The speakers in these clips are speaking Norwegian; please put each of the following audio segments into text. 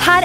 her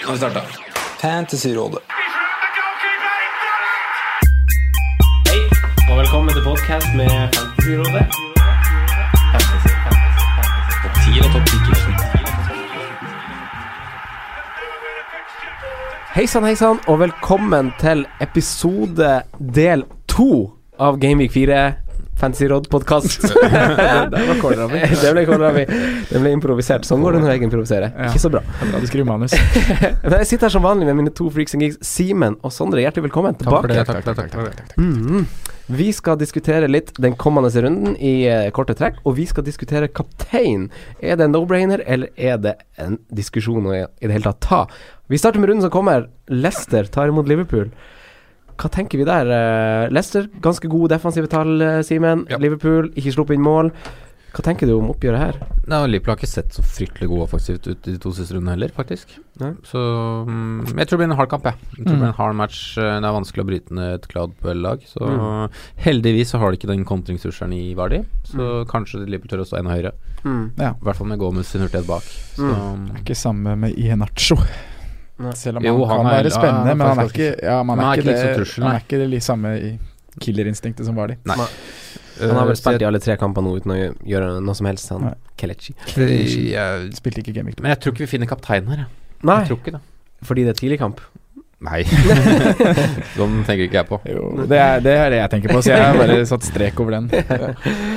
Nå har vi starta. Fantasyrådet. Hei, og velkommen til podcast med Fantasyrådet. Topp 10 og topp 10. Hei sann, hei sann, og velkommen til episode del to av Gameweek 4 Fantasyråd-podkast. det ble kålrabi. Det ble improvisert. Sånn går det når jeg improviserer. Ikke så bra. Du skriver manus. Men jeg sitter her som vanlig med mine to freaks and geeks, Simen og Sondre. Hjertelig velkommen tilbake. Mhm. takk, takk, takk, Vi skal diskutere litt den kommende runden i eh, korte trekk, og vi skal diskutere kaptein. Er det en no-brainer, eller er det en diskusjon å i det hele tatt ta? Vi starter med runden som kommer. Leicester tar imot Liverpool. Hva tenker vi der? eh, Leicester, ganske gode defensive tall, eh, Simen. Ja. Liverpool, ikke sluppet inn mål. Hva tenker du om oppgjøret her? Nei, og Liverpool har ikke sett så fryktelig god offensivt ut i de to siste rundene heller, faktisk. Nei. Mm. Så mm, jeg tror det blir en hard kamp, jeg. jeg tror det blir en hard match. Eh, Det er vanskelig å bryte ned et Cloud-lag. Så Mm. heldigvis så har de ikke den kontringstrusselen i Vardi, Mm. så kanskje Liverpool tør å stå enda høyere. Ja. I hvert fall med Gomez sin hurtighet bak. Så Mm. mm, Det er ikke samme med Ienacho. Nei. Selv om Jo, han, han kan er- være spennende, ja, han er men han er faktisk ikke, ja, man er Men han ikke, er ikke liksom det, trusselen, han nei. er ikke det li- samme i killerinstinktet som var de. Nei. Han har Eh, vel så spilt i jeg, alle tre kampene nå uten å gjø- gjøre noe som helst, han Nei. Kelechi. jeg, Spilte ikke Gameweek 2. Men jeg tror ikke vi finner kapteinen her, jeg. Nei, jeg tror ikke det. fordi det er tidlig kamp. Nei. Sånn tenker ikke jeg på. Jo, det er, det er det jeg tenker på, så jeg har bare satt strek over den.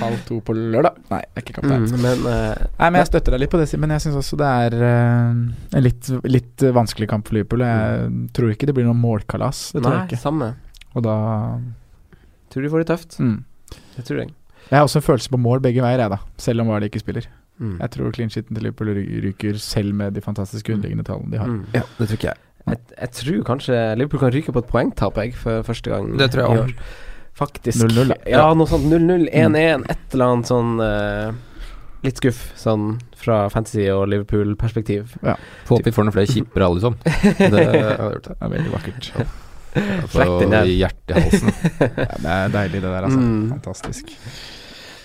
Halv to på lørdag. Nei, det er ikke kaptein. Mm, men eh, Nei, men Jeg støtter deg litt på det, Simen. Jeg syns også det er eh, en litt, litt vanskelig kamp for Liverpool. Jeg tror ikke det blir noe målkalas. Det tror Nei, jeg ikke. samme. Og da Tror du får det tøft. mm. Det tror jeg. Jeg har også en følelse på mål begge veier, jeg da. Selv om Vardy ikke spiller. Mm. Jeg tror clean shiten til Liverpool ry- ryker selv med de fantastiske underliggende tallene de har. Mm. Ja, det tror ikke jeg. Jeg, jeg tror kanskje Liverpool kan ryke på et poengtap jeg, for første gang. Det tror jeg i også. Mm. år. Faktisk. 0-0, da. Ja, noe sånt 0-0, 1-1, et eller annet sånn eh, Litt skuff, sånn fra fantasy- og Liverpool-perspektiv. Få håpe vi får noen flere kjippere alle, sånn. Det hadde gjort Det det. er veldig vakkert. Få Slekt den der. hjertet i halsen. Ja, det er deilig, det der, altså. Mm. Fantastisk.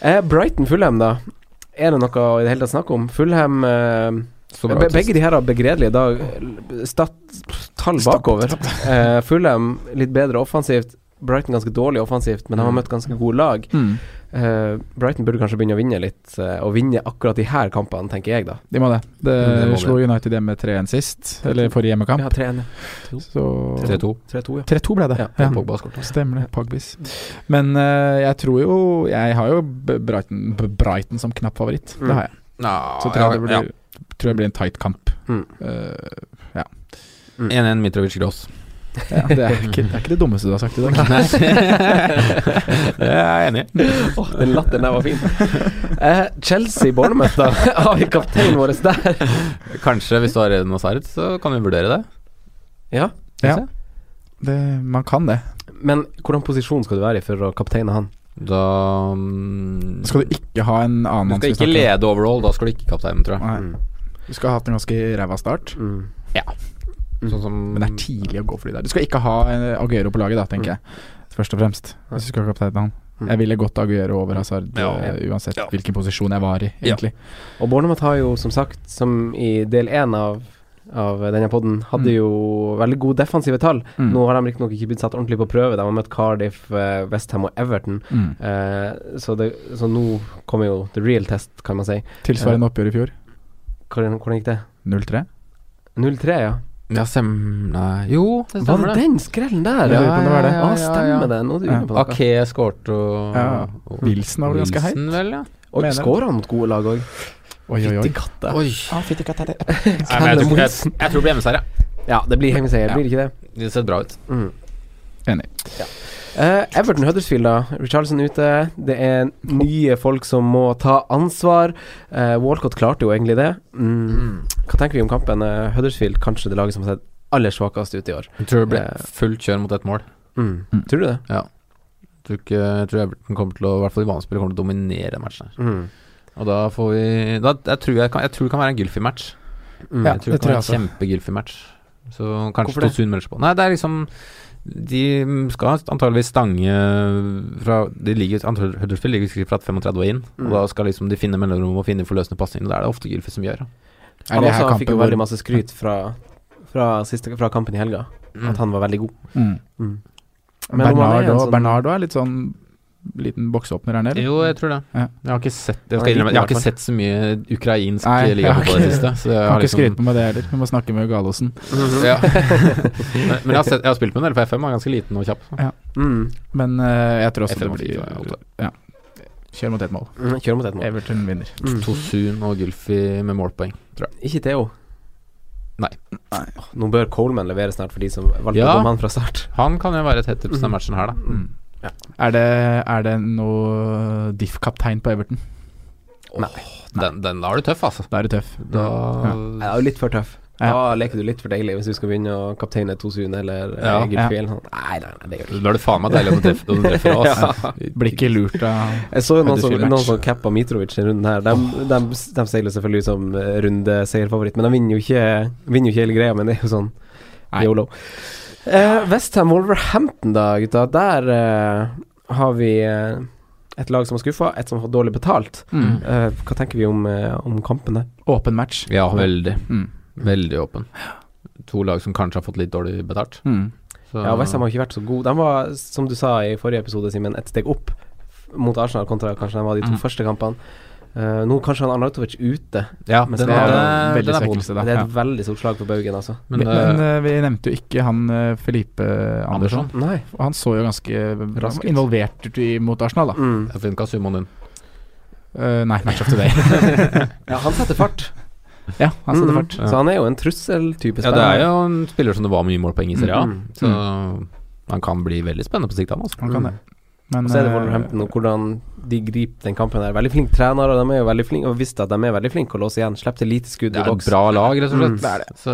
Eh, Brighton-Fulham, da. Er det noe i det hele tatt snakk om? Fulham eh, Så Be- Begge de her har begredelige dag stat, tall bakover. Eh, Fulham litt bedre offensivt. Brighton ganske dårlig offensivt, men de har møtt ganske gode lag. Mm. Eh, Brighton burde kanskje begynne å vinne litt, eh, og vinne akkurat de her kampene, tenker jeg, da. De må det. Det, Det må de. slo United hjemme 3-1 sist, eller forrige Vi hjemmekamp. har 3-1. Så 3-2. 3-2, ja. 3-2 ble det. Ja, Ja. Pogba har skåret. Stemmer det. Pagbis. Men eh, jeg tror jo Jeg har jo B- Brighton, B- Brighton som knapp favoritt. Mm. Det har jeg. Så tror jeg det blir, tror jeg blir en tight kamp. Mm. Eh, 1-1 Mitrovic Gross. ja, det, er ikke, det er ikke det dummeste du har sagt i dag. det er jeg enig i. Åh, den latteren der var fin. Eh, Chelsea Bournemouth, da. Har vi kapteinen vår der? Kanskje hvis du har Eden Hazard, så kan vi vurdere det. Ja. Ja. Det, man kan det. Men hvordan posisjon skal du være i for å kapteine han? Da mm, Skal du ikke ha en annen Du mann skal som ikke starter? lede overall, da skal du ikke kapteinen, tror jeg. Nei. Du skal ha hatt en ganske ræva start. Mm. Sånn som Mm. Men det er tidlig å gå for de der. Du skal ikke ha eh, Aguero på laget, da, Mm. tenker jeg. Først og fremst. Hvis du skal ha kapteinen han. Mm. Jeg ville gått Aguero over Hazard, Ja. eh, uansett hvilken posisjon jeg var i, Ja. egentlig. Og Bornemat har jo som sagt, som i del én av, av denne podden, hadde Mm. jo veldig gode defensive tall. Mm. Nå har de riktignok ikke blitt satt ordentlig på prøve. De har møtt Cardiff, eh, West Ham og Everton. Mm. Eh, så, det, så nå kommer jo the real test, kan man si. Tilsvarende oppgjør i fjor. Mm. Hvordan, hvordan gikk det? 0-3. 0-3, ja. Ja, stemmer Nei, jo, det Var stemmer det det. den skrellen der? Ja, ja, ja, ja, Å, stemmer ja. det. Nå er du Ja. inne på noe. Ake skårte og, Ja, og Wilson var vel ganske Wilson, heit. vel, ja. Og Mener- skårer han mot gode lag òg? Oi, oi, oi. Fytti katta. Oi. Ah, fytti katta, det- Nei, men jeg, tror, jeg, Wilson. jeg tror det blir hjemmeseier, ja. Ja, det blir hjemmeseier, blir det ikke det? Det ser bra ut. Enig. Eh, Everton Huddersfield, da. Richarlison ute. Det er nye folk som må ta ansvar. Eh, Walcott klarte jo egentlig det. Mm. Hva tenker vi om kampen? Eh, Huddersfield, kanskje det laget som har sett aller svakest ut i år. Jeg tror det Eh. blir fullt kjør mot ett mål. Mm. Tror du det? Jeg tror, ikke, jeg tror Everton kommer til å, i hvert fall i banespillet, kommer til å dominere den matchen. her. Mm. Og da får vi da, jeg, tror jeg, kan, jeg tror det kan være en Gylfi-match. Mm. Ja, Jeg tror det, det kan tror jeg være også. en kjempe-Gylfi-match. Så Hvorfor kanskje det? Tosun melder seg på. Nei, det er liksom De skal antageligvis stange fra de ligger, antagelig- Huddersfield ligger sikkert fra 35 og inn. Mm. Og da skal liksom de finne mellomrom og finne forløsende pasninger. Da er det ofte Gylfi som gjør det. Er Han det her også fikk kampen jo hvor veldig masse skryt fra, fra, siste, fra kampen i helga. At han var veldig god. mm. Mm. Men om han er Bernardo, en sånn- Bernardo er litt sånn liten bokseåpner, er han det? eller? Jo, jeg tror det. Ja. Jeg har ikke sett Jeg, Han er skal liten, innrømme, jeg i har hvert ikke sett så mye ukrainsk Nei, liga jeg har på det ikke- siste. Så jeg Kan har ikke liksom skryte med det heller. Vi må snakke med Gallosen. Mhm. ja. Men men jeg har, sett, jeg har spilt med en del på FM, han er ganske liten og kjapp. Mm. Men eh, jeg tror også FM det fikk jo, ja, blir ja. Kjør mot ett mål. Mm. Kjør mot et mål. Everton vinner. Mm. Tosun og Gylfi med målpoeng, tror jeg. Ikke Theo. Nei. Åh, Nå bør Coleman levere snart, for de som valgte Ja. å gå mann fra start. Han kan jo være et hett tips Mhm. denne matchen her, da. Er det, er det noe diff-kaptein på Everton? Den, den da er du tøff, altså. Da er du tøff. Da Jeg er jo litt for tøff. Ja. Da leker du litt for deilig hvis du skal begynne å kapteine Tosun eller eh, Ja. ja. Ja. Gylfi eller noe sånt. sånn. Nei, nei, nei, det gjør du ikke. Da er det faen meg deilig at du treffer, at du treffer oss. Blir ikke lurt av Jeg så jo noen som, Huddersfield-match. noen som cappa Mitrovic i runden her. De, de, de seiler selvfølgelig ut som eh, rundeseierfavoritt, men de vinner jo ikke Vinner jo ikke hele greia. Men det er jo sånn Nei. yolo. Eh, Westham Wolverhampton, da, gutta. Der eh, har vi eh, et lag som har skuffa, et som har dårlig betalt. Mm. Eh, hva tenker vi om, eh, om kampen der? åpen match. Ja, veldig. Mm. Veldig åpen. To lag som kanskje har fått litt dårlig betalt. Mm. Så- Ja, Westham har ikke vært så god De var, som du sa i forrige episode, Simen, et steg opp mot Arsenal kontra kanskje de var de to Mm. første kampene. Eh, nå kanskje han Arnautovic ute. ja, Men den, det er er, veldig den er vond. svekkelse, da. Det er et Ja. veldig stort slag for Baugen, altså. Men, Men, eh, eh, vi nevnte jo ikke han eh, Felipe Andersson. Andersson. Nei. Og han så jo ganske Rask ut. involvert ut i- mot Arsenal, da. Mm. jeg funka summoen din. Eh, nei, Match of the Day. Ja, han setter fart. ja, han satte Mm. fart. ja. Så han er jo en trusseltype Ja, det er jo en spiller som det var mye målpoeng i Serie A, Mm. så han kan bli veldig spennende på sikt, han altså. Han kan det. Men, Mm. Og så er det eh, Wolverhampton og hvordan de griper den kampen der. Veldig flinke trenere, og de er jo veldig flinke og visste at de er veldig flinke å låse igjen. Slipp til lite skudd Det i er et boks. bra lag, rett og Mm, slett. det er Så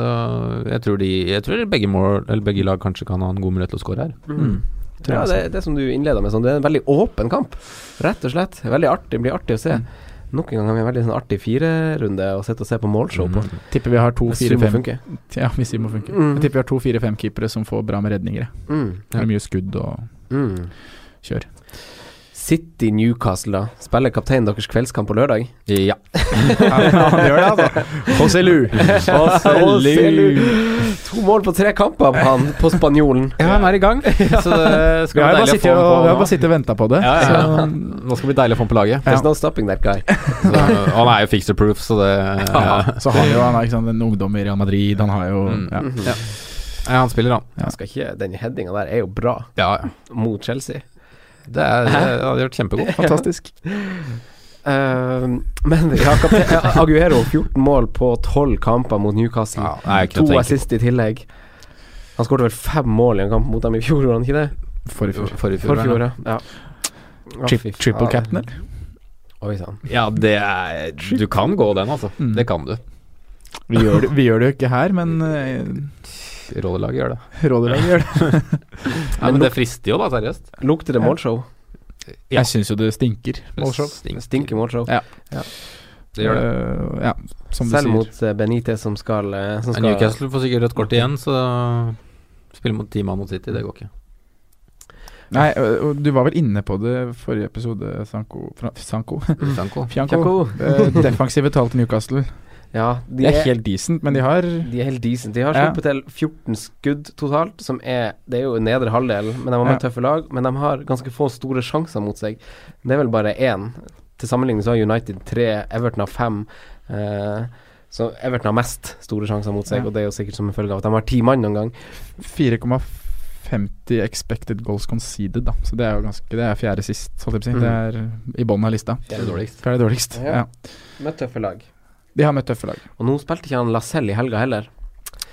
jeg tror, de, jeg tror begge, mål, eller begge lag kanskje kan ha en god mulighet til å skåre her. Mm. tror jeg altså. Ja, det, det som du innleda med, sånn, det er en veldig åpen kamp, rett og slett. Veldig artig, det blir artig å se. Mm. Nok en gang har vi en veldig sånn artig firerunde å sitte og se på målshow på. Mm. tipper vi har to, Hvis det fire, må fem funke. Ja, hvis vi må funke. Mm. Jeg tipper vi har to, fire, fem keepere som får bra med redninger. jeg. Mm. Det er mye skudd og Mm. kjør. City Newcastle, da. Spiller kapteinen deres kveldskamp på lørdag? Ja. han gjør det, altså. Joselu. To mål på tre kamper på han, på spanjolen. ja, han er i gang, så det Vi skal har jo bare bli deilig å sittet få og, vi har ham bare på. nå. sittet og venta på det. Ja, ja, ja. Så, Nå skal det bli deilig å få ham på laget. There's no stopping that guy. Så, og han er jo fixer proof, så det ja. så har jo han er, ikke sant, en ungdom i Real Madrid, han har jo Mm. ja. Ja, han spiller, han. Ja. Jeg skal ikke, den headinga der er jo bra Ja, ja. mot Chelsea. Det er, det hadde gjort kjempegod. Fantastisk. Eh, men ja, kapte- eh, Aguero 14 mål på 12 kamper mot Newcastle. Ja, nei, ikke noe å to tenke assist i tillegg. Han skåret vel fem mål i en kamp mot dem i fjor, gjorde han ikke det? For i på. fjor. Forrige fjor. Forfjor, eller? ja. ja. Å, Tri fy triple faen. cap'n, eller? Oi sann. Ja, det er Du kan gå den, altså. Mm. Det kan du. Vi gjør, det, vi gjør det jo ikke her, men uh, Rollelaget gjør det. Rådelaget gjør det. Ja, men det frister jo, da, seriøst. Lukter det målshow? Ja. Jeg syns jo det stinker. Målshow. Stinker. Stinker målshow. Det gjør det. Eh, ja, som Selv du sier. mot eh, Benitez, som skal, eh, som Men skal Newcastle får sikkert rødt kort igjen, så spille mot ti mann mot City, det går ikke. Nei, ø- og du var vel inne på det forrige episode, Sanko Fra- Sanko? Sanko. Fianco. Tjako. Eh, defensive tall til Newcastle. Ja, de Det er er, helt decent, men de har de er helt decent. De har Ja. sluppet til 14 skudd totalt, som er Det er jo nedre halvdel, men de har møtt Ja. tøffe lag. Men de har ganske få store sjanser mot seg. Det er vel bare én. Til sammenligning så har United tre, Everton har fem. Eh, Så Everton har mest store sjanser mot seg, Ja. og det er jo sikkert som en følge av at de har ti mann noen gang. 4,50 expected goals conceded, da. Så det er jo ganske Det er fjerde sist, holdt jeg på å Mhm. si. Det er i bånn av lista. Det er dårligst. Hva er det dårligst? Ja. Ja. Med tøffe lag. De har møtt tøffe lag. Og nå spilte ikke han Lacelle i helga heller.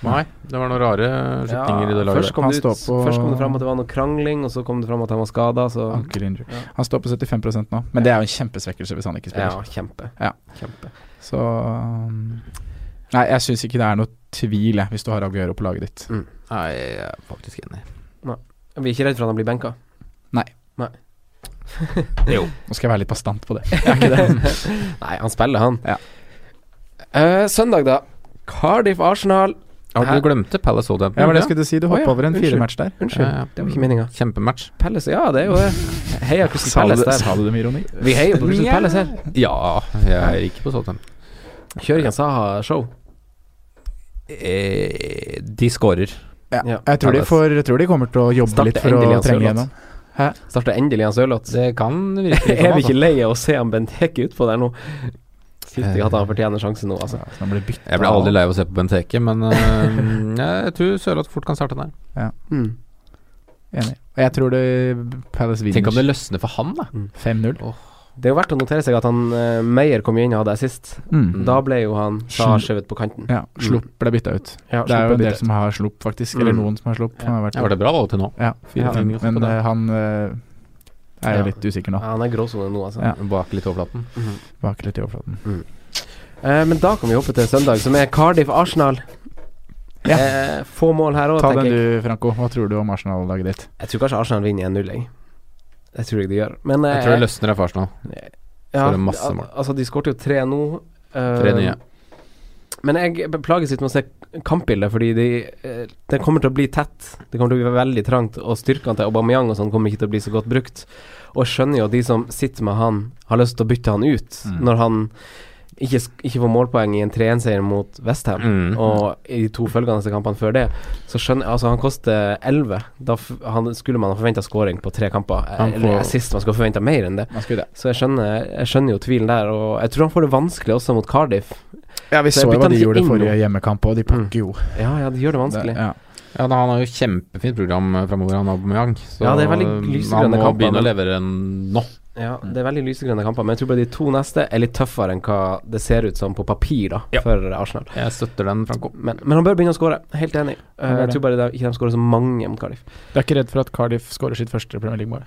Nei, det var noen rare slutninger i det laget. først, kom Han det ut, står på- først kom det fram at det var noe krangling, og så kom det fram at han var skada, så Ankle injury. Ja. Han står på 75 nå, men det er jo en kjempesvekkelse hvis han ikke Ja, spiller. kjempe. Ja. kjempe. Så um, Nei, jeg syns ikke det er noe tvil, jeg, hvis du har Aguero på laget ditt. Nei, jeg er faktisk enig. Vi er ikke redd for at han blir benka. Nå skal jeg være litt bastant på det. Jeg er ikke det. Nei, han spiller, han. Ja. Eh, søndag, da. Cardiff-Arsenal. Ja, Hæ? du glemte Palace Oldham. Ja, var det jeg skulle si. Du Å, hoppa ja. over en Unnskyld. firematch der. Unnskyld, Ja, ja. det var ikke meninga. Mm, Kjempematch. Palace, ja, det er jo det. Heia Crystal Sa du, Palace det- der. sa du det med ironi? Vi heier på Crystal Ja. Palace her. Ja, jeg gikk på Southampton. Kjører ikke en Saha-show. Eh, de scorer. Ja. Ja. Jeg, tror de Palace. får, jeg tror de kommer til å jobbe Starte litt for endelig å Jens trenge Ørloth. gjennom. Starter endelig Jens Ørloth. Det kan virke sånn, altså. Er vi ikke lei av å se han Bent Hekke utpå der nå? Syns ikke at Eh. han fortjener sjansen nå, altså. Ja, så han blir byttet Jeg ble aldri lei av å se på Benteke, men eh, jeg tror Sørloth fort kan starte den her. Mm. Enig. Og jeg tror det Palace Tenk om det vinner løsner for han, da. 5-0. Det er jo verdt å notere seg at han eh, Meyer kom jo inn og hadde assist. Mm. Da ble jo han Saha Slu- skjøvet på kanten. Ja, Slupp ble bytta ut. Ja, Det er jo sluppet en del bytte. som har slupp, faktisk. Eller Mm. noen som har slupp. Han har vært Ja, var det bra valg til nå? Ja, Fire men, fingre på men det. eh, han eh, er Ja. jo litt usikker nå. Ja, han er gråsone nå, altså. Ja. Bak litt overflaten. Bak litt i overflaten. Eh, men da kan vi hoppe til søndag, som er Cardiff-Arsenal. Ja. Eh, få mål her òg, Ta den tenker jeg. du, Franco. Hva tror du om Arsenal-laget ditt? Jeg tror kanskje Arsenal vinner 1-0, jeg. Det tror jeg de gjør. Men eh, Jeg tror det løsner her for Arsenal. ja, får de masse al- mål. Altså, de skårte jo tre nå. eh, Tre nye. Men jeg plages litt med å se kampbildet, fordi de, eh, det kommer til å bli tett. Det kommer til å bli veldig trangt, og styrkene til Aubameyang og sånn kommer ikke til å bli så godt brukt. Og jeg skjønner jo at de som sitter med han, har lyst til å bytte han ut Mm. når han ikke, sk- ikke får målpoeng i en 3-1-seier mot Westham, Mm. og i de to følgende kampene før det. Så skjønner jeg Altså, han koster 11. Da f han, skulle man ha forventa scoring på tre kamper, eh, Han får- eller assist. Man skal forvente mer enn det. Man skal jo det. Så jeg skjønner, jeg skjønner jo tvilen der, og jeg tror han får det vanskelig også mot Cardiff. Ja, vi Så jeg så jo bytter hva den de ikke gjorde inn forrige hjemmekamp, og de Mm. pakker jo. Ja, ja, det gjør det vanskelig. Det- ja. Ja, da, Han har jo kjempefint program eh, framover, han Aubameyang. Så Ja, det er veldig lysegrønne han må kamper, begynne å men- levere nå. Ja, Det er veldig lysegrønne kamper, men jeg tror bare de to neste er litt tøffere enn hva det ser ut som på papir da, Ja. for Arsenal. Jeg støtter den, Franco. Men, men han bør begynne å skåre, helt enig. Eh, Han bør jeg det. tror bare de, ikke de skårer så mange mot Cardiff. Du er ikke redd for at Cardiff skårer sitt første Premier League-mål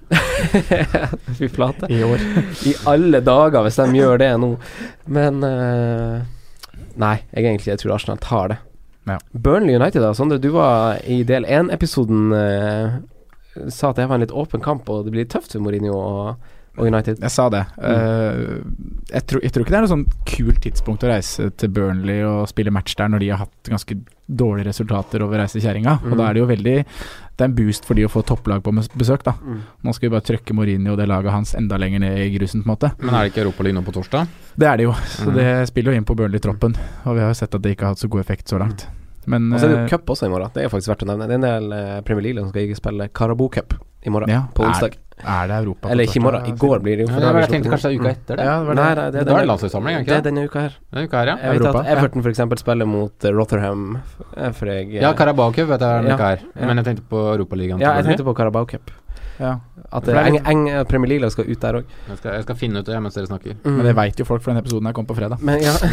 Fy flate. i år? I alle dager, hvis de gjør det nå. Men eh, Nei, jeg er egentlig jeg tror Arsenal tar det. Ja. Burnley United, da. Sondre, du var i del 1-episoden Sa at det var en litt åpen kamp, og det blir tøft for Mourinho og, og United. Jeg sa det. Mm. Eh, jeg, tror, jeg tror ikke det er noe sånn kult tidspunkt å reise til Burnley og spille match der når de har hatt ganske dårlige resultater over reisekjerringa. Mm. Og da er det jo veldig Det er en boost for de å få topplag på mes- besøk, da. Mm. Nå skal vi bare trøkke Mourinho og det laget hans enda lenger ned i grusen, på en måte. Men er det ikke Europaliga nå på torsdag? Det er det jo. Så Mm. det spiller jo inn på Burnley-troppen. Og vi har jo sett at det ikke har hatt så god effekt så langt. Men Mm. Og så er det eh, jo cup også i morgen. Det er faktisk verdt å nevne. Det er en del eh, Premier League-lag som skal ikke spille Carabao Cup i morgen. ja, På onsdag. Er, er det Europa på Eller ikke i morgen, i torsdag? går blir det jo. for da har vi sluttet nå. det er uka etter Ja, det var det. Nei, nei, det er Da er det denne- landslagssamling, er det ikke Det er det? denne uka her. Denne uka her, ja. Jeg vet Europa, at ja. Everton for eksempel spiller mot eh, Rotherham, eh, for jeg eh, Ja, Carabao Cup vet jeg er denne Ja, uka her. ja. Men jeg tenkte på ja, Europaligaen. jeg selvfølgelig. tenkte på Carabao Cup. Ja. At eh, For det er eng, litt- eng eh, Premier League-lag skal ut der òg. Jeg skal, jeg skal finne ut det mens dere snakker. Mm. Men det veit jo folk, for den episoden her kom på fredag. Men ja, Det,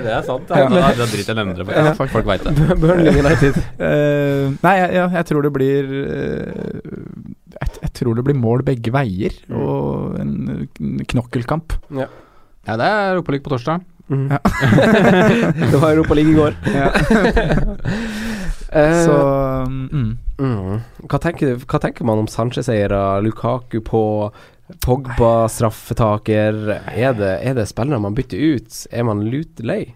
er sant. Ja. Da, da driter jeg nevner det. Ja, folk folk veit det. Burnley United. Eh, nei, jeg, ja, jeg tror det blir eh, jeg, jeg tror det blir mål begge veier, Mm. og en, en knokkelkamp. Ja, det er Europaliga på torsdag. Ja. det var Europa League i går. Eh, Så mm. mm. hva, tenker, du- hva tenker man om Sanchez-eiere, Lukaku på Pogba, straffetaker er det, er det spillere man bytter ut? Er man lut lei?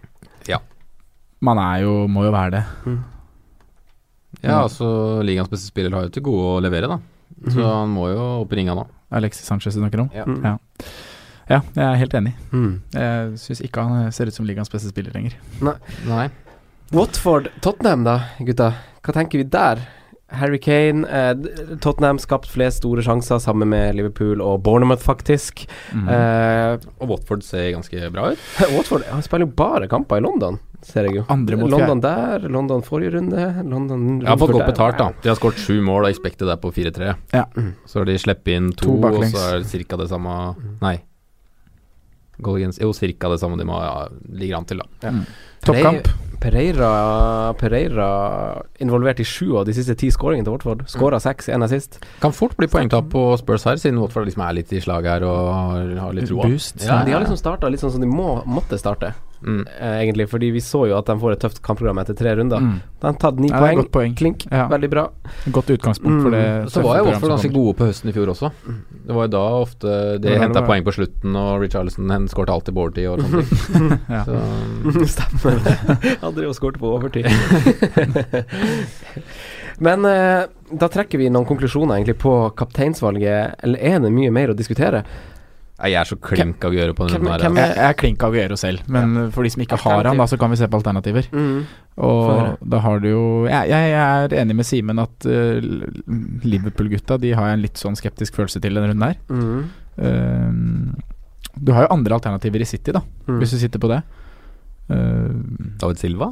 Man er jo Må jo være det. Ja, altså ligaens beste spiller har jo til gode å levere, da. Så han må jo opp i ringa nå. Alexis Sanchez du snakker om. Ja. Ja. ja, jeg er helt enig. Mm. Jeg syns ikke han ser ut som ligaens beste spiller lenger. Nei. Watford, Tottenham da, gutta. Hva tenker vi der? Harry Kane eh, d- Tottenham skapt flest store sjanser sammen med Liverpool og Bournemouth, faktisk. Mm. Eh, Og Watford ser ganske bra ut. Watford han spiller jo bare kamper i London, ser jeg jo. Andre mot London der, London forrige runde, London De har Watford fått godt der. betalt, da. De har skåret sju mål, og expected er på 4-3. Ja. Så har de sluppet inn to, To og baklengs. Mm. så er det ca. det samme Nei. Goal against Jo, ca. det samme de må, ja, ligger an til, da. Toppkamp. Pereira, Pereira involvert i sju av de siste ti skåringene til Watford. Skåra Mm. seks, én assist. Kan fort bli poengtap på Spurs her, siden Watford liksom er litt i slaget her og har- har litt troa. Boost. Ja, De har liksom starta litt sånn som de må, måtte starte, Mm. eh, egentlig. Fordi vi så jo at de får et tøft kampprogram etter tre runder. Mm. De har tatt ni Ja, det er poeng. godt poeng. Klink. Ja. Veldig bra. Godt utgangspunkt for Mm. det. Så var tøffe jo programmet Watford som ganske kommer. Mm. gode på høsten i fjor også. Det var jo da ofte de Ja, det henta var- poeng på slutten, og Richarlison skårte alltid på overtid og sånne ting. Ja. Så Stemmer. Han drev og skåret på overtid. Men eh, da trekker vi noen konklusjoner egentlig på kapteinsvalget. Eller er det mye mer å diskutere? Nei, jeg er så klink av å gjøre på den Hvem- runden her. hvem altså. er- Jeg, jeg er klink Aguero selv, men for de som ikke har han, da, så kan vi se på alternativer. Mm. Få høre. Og da har du jo Jeg, jeg er enig med Simen at eh, Liverpool-gutta De har jeg en litt sånn skeptisk følelse til denne runden her. Mm. Eh, du har jo andre alternativer i City, da, Mm. hvis du sitter på det. Eh, David Silva?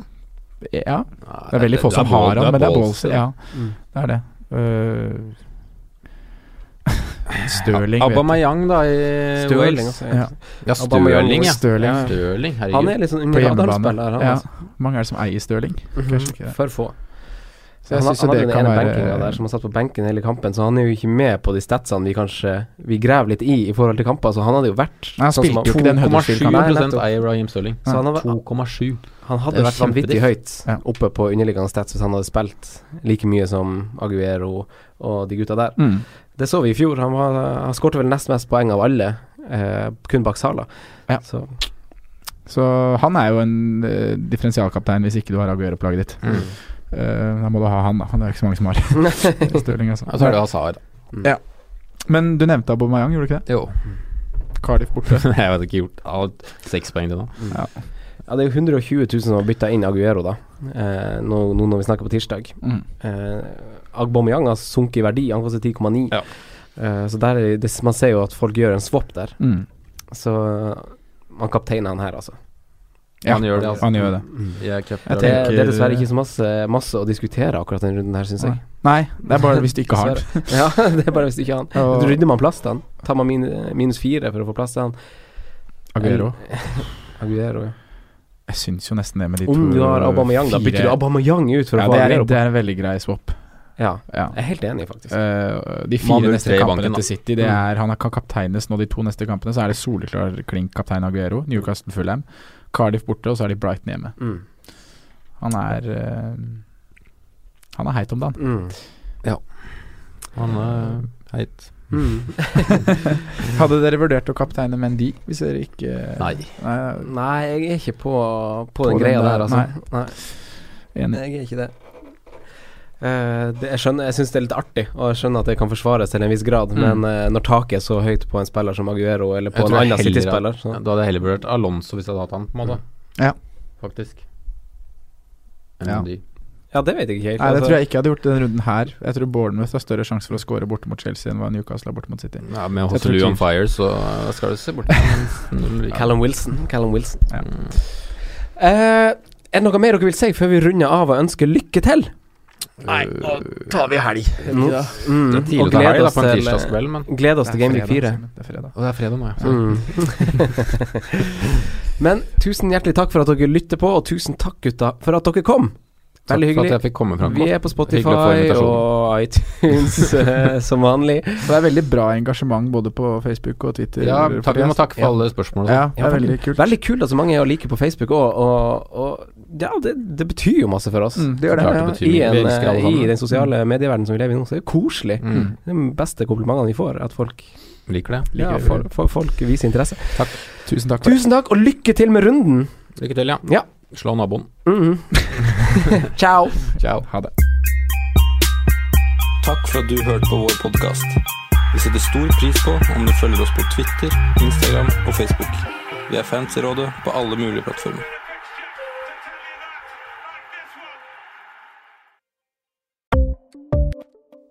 ja. Det er veldig få som har han, men det er Balls. Ja, Mm. det er det. Uh, Eh, Stirling vet jeg. Abamayang, da, i Stirling, Wales. altså. Ja. Ja, Aubameyang Stirling, ja. Stirling. Ja. Stirling, Han er herregud. litt sånn På under radaren hjemmebane. spiller, han, Ja. altså. Mhm. Hvor mange er det som eier Stirling? Kanskje ikke det. For få. Så jeg han, synes jo han hadde det den kan ene være- benkinga der som har satt på benken hele kampen, så han er jo ikke med på de statsene vi kanskje Vi graver litt i i forhold til kamper, så han hadde jo vært Nei, han sånn som spilte jo ikke den 2,7 Huddersfield-kampen. Nei, prosent nettopp. eier Raheem Stirling. Så han hadde, 2,7. han Det hadde er vært vanvittig høyt Ja. oppe på underliggende stats hvis han hadde spilt like mye som Aguero og de gutta der. Mm. Det så vi i fjor. Han, var, han skårte vel nest mest poeng av alle, eh, kun bak Sala. Ja. Så Så han er jo en eh, differensialkaptein hvis ikke du har Aguero-plaget ditt. Mm. Eh, da må du ha han, da. Han er det ikke så mange som har. Stirling, altså. Ja, så er det Hazard. Men du nevnte Aubameyang, gjorde du ikke det? Jo. Cardiff borte. jeg vet ikke gjort alt. Seks poeng til nå. Mm. Ja, det er jo 120 000 som har bytta inn Aguero, da. Eh, nå, nå når vi snakker på tirsdag. Mm. Eh, Aubameyang har sunket i verdi, han koster 10,9. Ja. Eh, så der er det, man ser jo at folk gjør en swap der. Mm. Så eh, man kapteiner han her, altså. Ja, Han gjør det, altså. Han gjør det. Jeg Jeg capper Det, det. tenker- det er dessverre ikke så masse, masse å diskutere akkurat den runden her, syns jeg. Nei, det er bare hvis du ikke har den. Dessverre. Ja, det er bare hvis du ikke har han. Og- Da rydder man plass til han. Tar man min, minus fire for å få plass til han. Aguero. Aguero, ja. Jeg syns jo nesten det med de to Om du har Aubameyang, da fire- bytter du Aubameyang ut for å ja, få det, er, Aguero. det på. er en veldig grei swap. Ja, Ja. jeg er helt enig, faktisk. Eh, de Man fire bør tre neste i kampene banken, da. Mm. til City Det er Han kan kapteines nå de to neste kampene. Så er det soleklar klink kaptein Aguero. Newcastle Fulham. Cardiff borte, og så er de Brighton hjemme. Mm. Han er eh, Han er heit om dagen. Mm. Han eh, er heit. Mm. Hadde dere vurdert å kapteine Mendy hvis dere ikke Mm. Nei. Nei, Nei, jeg er ikke på, på, På den den greia der, der, altså. Nei. enig. Jeg er ikke det. Eh, det jeg skjønner, jeg syns det er litt artig, og jeg skjønner at det kan forsvares til en viss grad, men eh, når taket er så høyt på en spiller som Aguero, eller på Jeg en tror jeg annen heller City-spiller Ja, så- Da hadde jeg heller vurdert Alonso hvis jeg hadde hatt han, på en måte. Ja. Faktisk. Ja. Mendy. Ja, det vet jeg ikke helt. Nei, det altså. tror jeg ikke jeg hadde gjort denne runden her. Jeg tror Bournemouth har større sjanse for å score borte mot Chelsea enn hva Newcastle har borte mot City. Ja, med Jeg tror Hosselu on ikke- fire, så eh, skal du se bort. Null virker. Callum Wilson. Callum Wilson. Mm. Ja. Eh, er det noe mer dere vil si før vi runder av og ønsker lykke til? Nei, nå tar vi helg. Nå- Mm. Det er tidlig Og å ta helg gleder da, oss på en til, tirsdagskveld, men gleder oss til Gameweek 4. Simen. Det er fredag. Og det er fredag nå, ja. Mm. Men tusen hjertelig takk for at dere lytter på, og tusen takk, gutta, for at dere kom. Takk Veldig for at hyggelig. jeg fikk komme fram. Vi er på Hyggelig å få Spotify invitasjon. og iTunes eh, som vanlig. Så det er veldig bra engasjement både på Facebook og Twitter. Ja, takk, vi må takke for alle spørsmålene. Ja, det er veldig kult. Veldig kult at så mange er å like på Facebook òg, og, og ja, det, det betyr jo masse for oss. Mm, det gjør det. Klart det Ja, I, betyr mye. en, Vi elsker alle eh, I sammen. den sosiale medieverdenen som vi lever i nå, så er det jo koselig. Mm. Det er de beste komplimentene vi får, at folk, Liker det. ja, det. for, for, folk viser interesse. Tusen takk. for det. Tusen takk, og lykke til med runden! Lykke til, ja. Ja. Slå naboen. Mhm. Ciao! Ciao. Ha det. Takk for at du hørte på vår podkast. Vi setter stor pris på om du følger oss på Twitter, Instagram og Facebook. Vi er fans i rådet på alle mulige plattformer.